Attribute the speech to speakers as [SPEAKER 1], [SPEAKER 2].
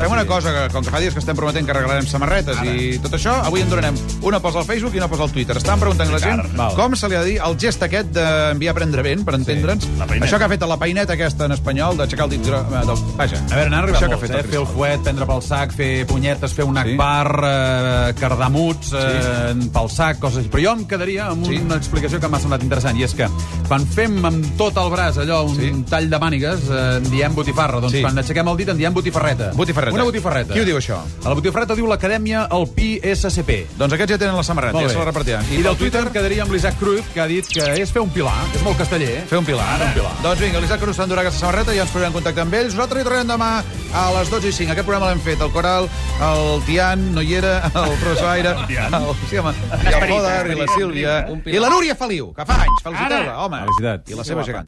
[SPEAKER 1] Fem una cosa, que, com que fa dies que estem prometent que regalarem samarretes Ara. i tot això, avui en donarem una posa al Facebook i una posa al Twitter. Estan preguntant a la gent
[SPEAKER 2] val.
[SPEAKER 1] com se li ha de dir el gest aquest d'enviar a prendre vent, per entendre'ns.
[SPEAKER 2] la peineta.
[SPEAKER 1] Això que ha fet la peineta aquesta en espanyol, d'aixecar el dit... gro- eh, Del... Vaja,
[SPEAKER 3] A veure, n'han arribat
[SPEAKER 1] Això que ha
[SPEAKER 3] molts,
[SPEAKER 1] fet el
[SPEAKER 3] eh? Fer el
[SPEAKER 1] Cristóbal.
[SPEAKER 3] fuet, prendre pel sac, fer punyetes, fer un
[SPEAKER 1] Sí.
[SPEAKER 3] akbar, eh, cardamuts, eh, pel sac, coses així. Però jo em quedaria amb
[SPEAKER 1] Sí.
[SPEAKER 3] una explicació que m'ha semblat interessant, i és que quan fem amb tot el braç allò, un
[SPEAKER 1] Sí.
[SPEAKER 3] tall de mànigues, eh, en diem botifarra. Doncs
[SPEAKER 1] Sí.
[SPEAKER 3] quan aixequem el dit en diem botifarreta.
[SPEAKER 1] Botifarreta.
[SPEAKER 3] Una botifarreta.
[SPEAKER 1] Qui ho diu, això?
[SPEAKER 3] A la botifarreta diu l'Acadèmia Alpí SCP.
[SPEAKER 1] Doncs aquests ja tenen la samarreta,
[SPEAKER 3] Molt
[SPEAKER 1] ja
[SPEAKER 3] bé.
[SPEAKER 1] se la repartiran.
[SPEAKER 3] I del Twitter quedaria amb l'Isaac Cruyff, que ha dit que és fer un pilar, que és molt casteller. eh?
[SPEAKER 1] Fer un pilar.
[SPEAKER 3] Ara, un pilar.
[SPEAKER 1] Doncs vinga, l'Isaac Cruz s'endurà aquesta samarreta i ja ens posarem en contacte amb ells. Nosaltres hi tornem demà a les 12 i 5. Aquest programa l'hem fet el Coral, el Tian, no hi era, el Rosaire, el, sí, home, i el Poder, i la Sílvia, i la Núria Feliu, que fa anys. Feliciteu-la, home.
[SPEAKER 3] Felicitats.
[SPEAKER 1] I la seva gegant.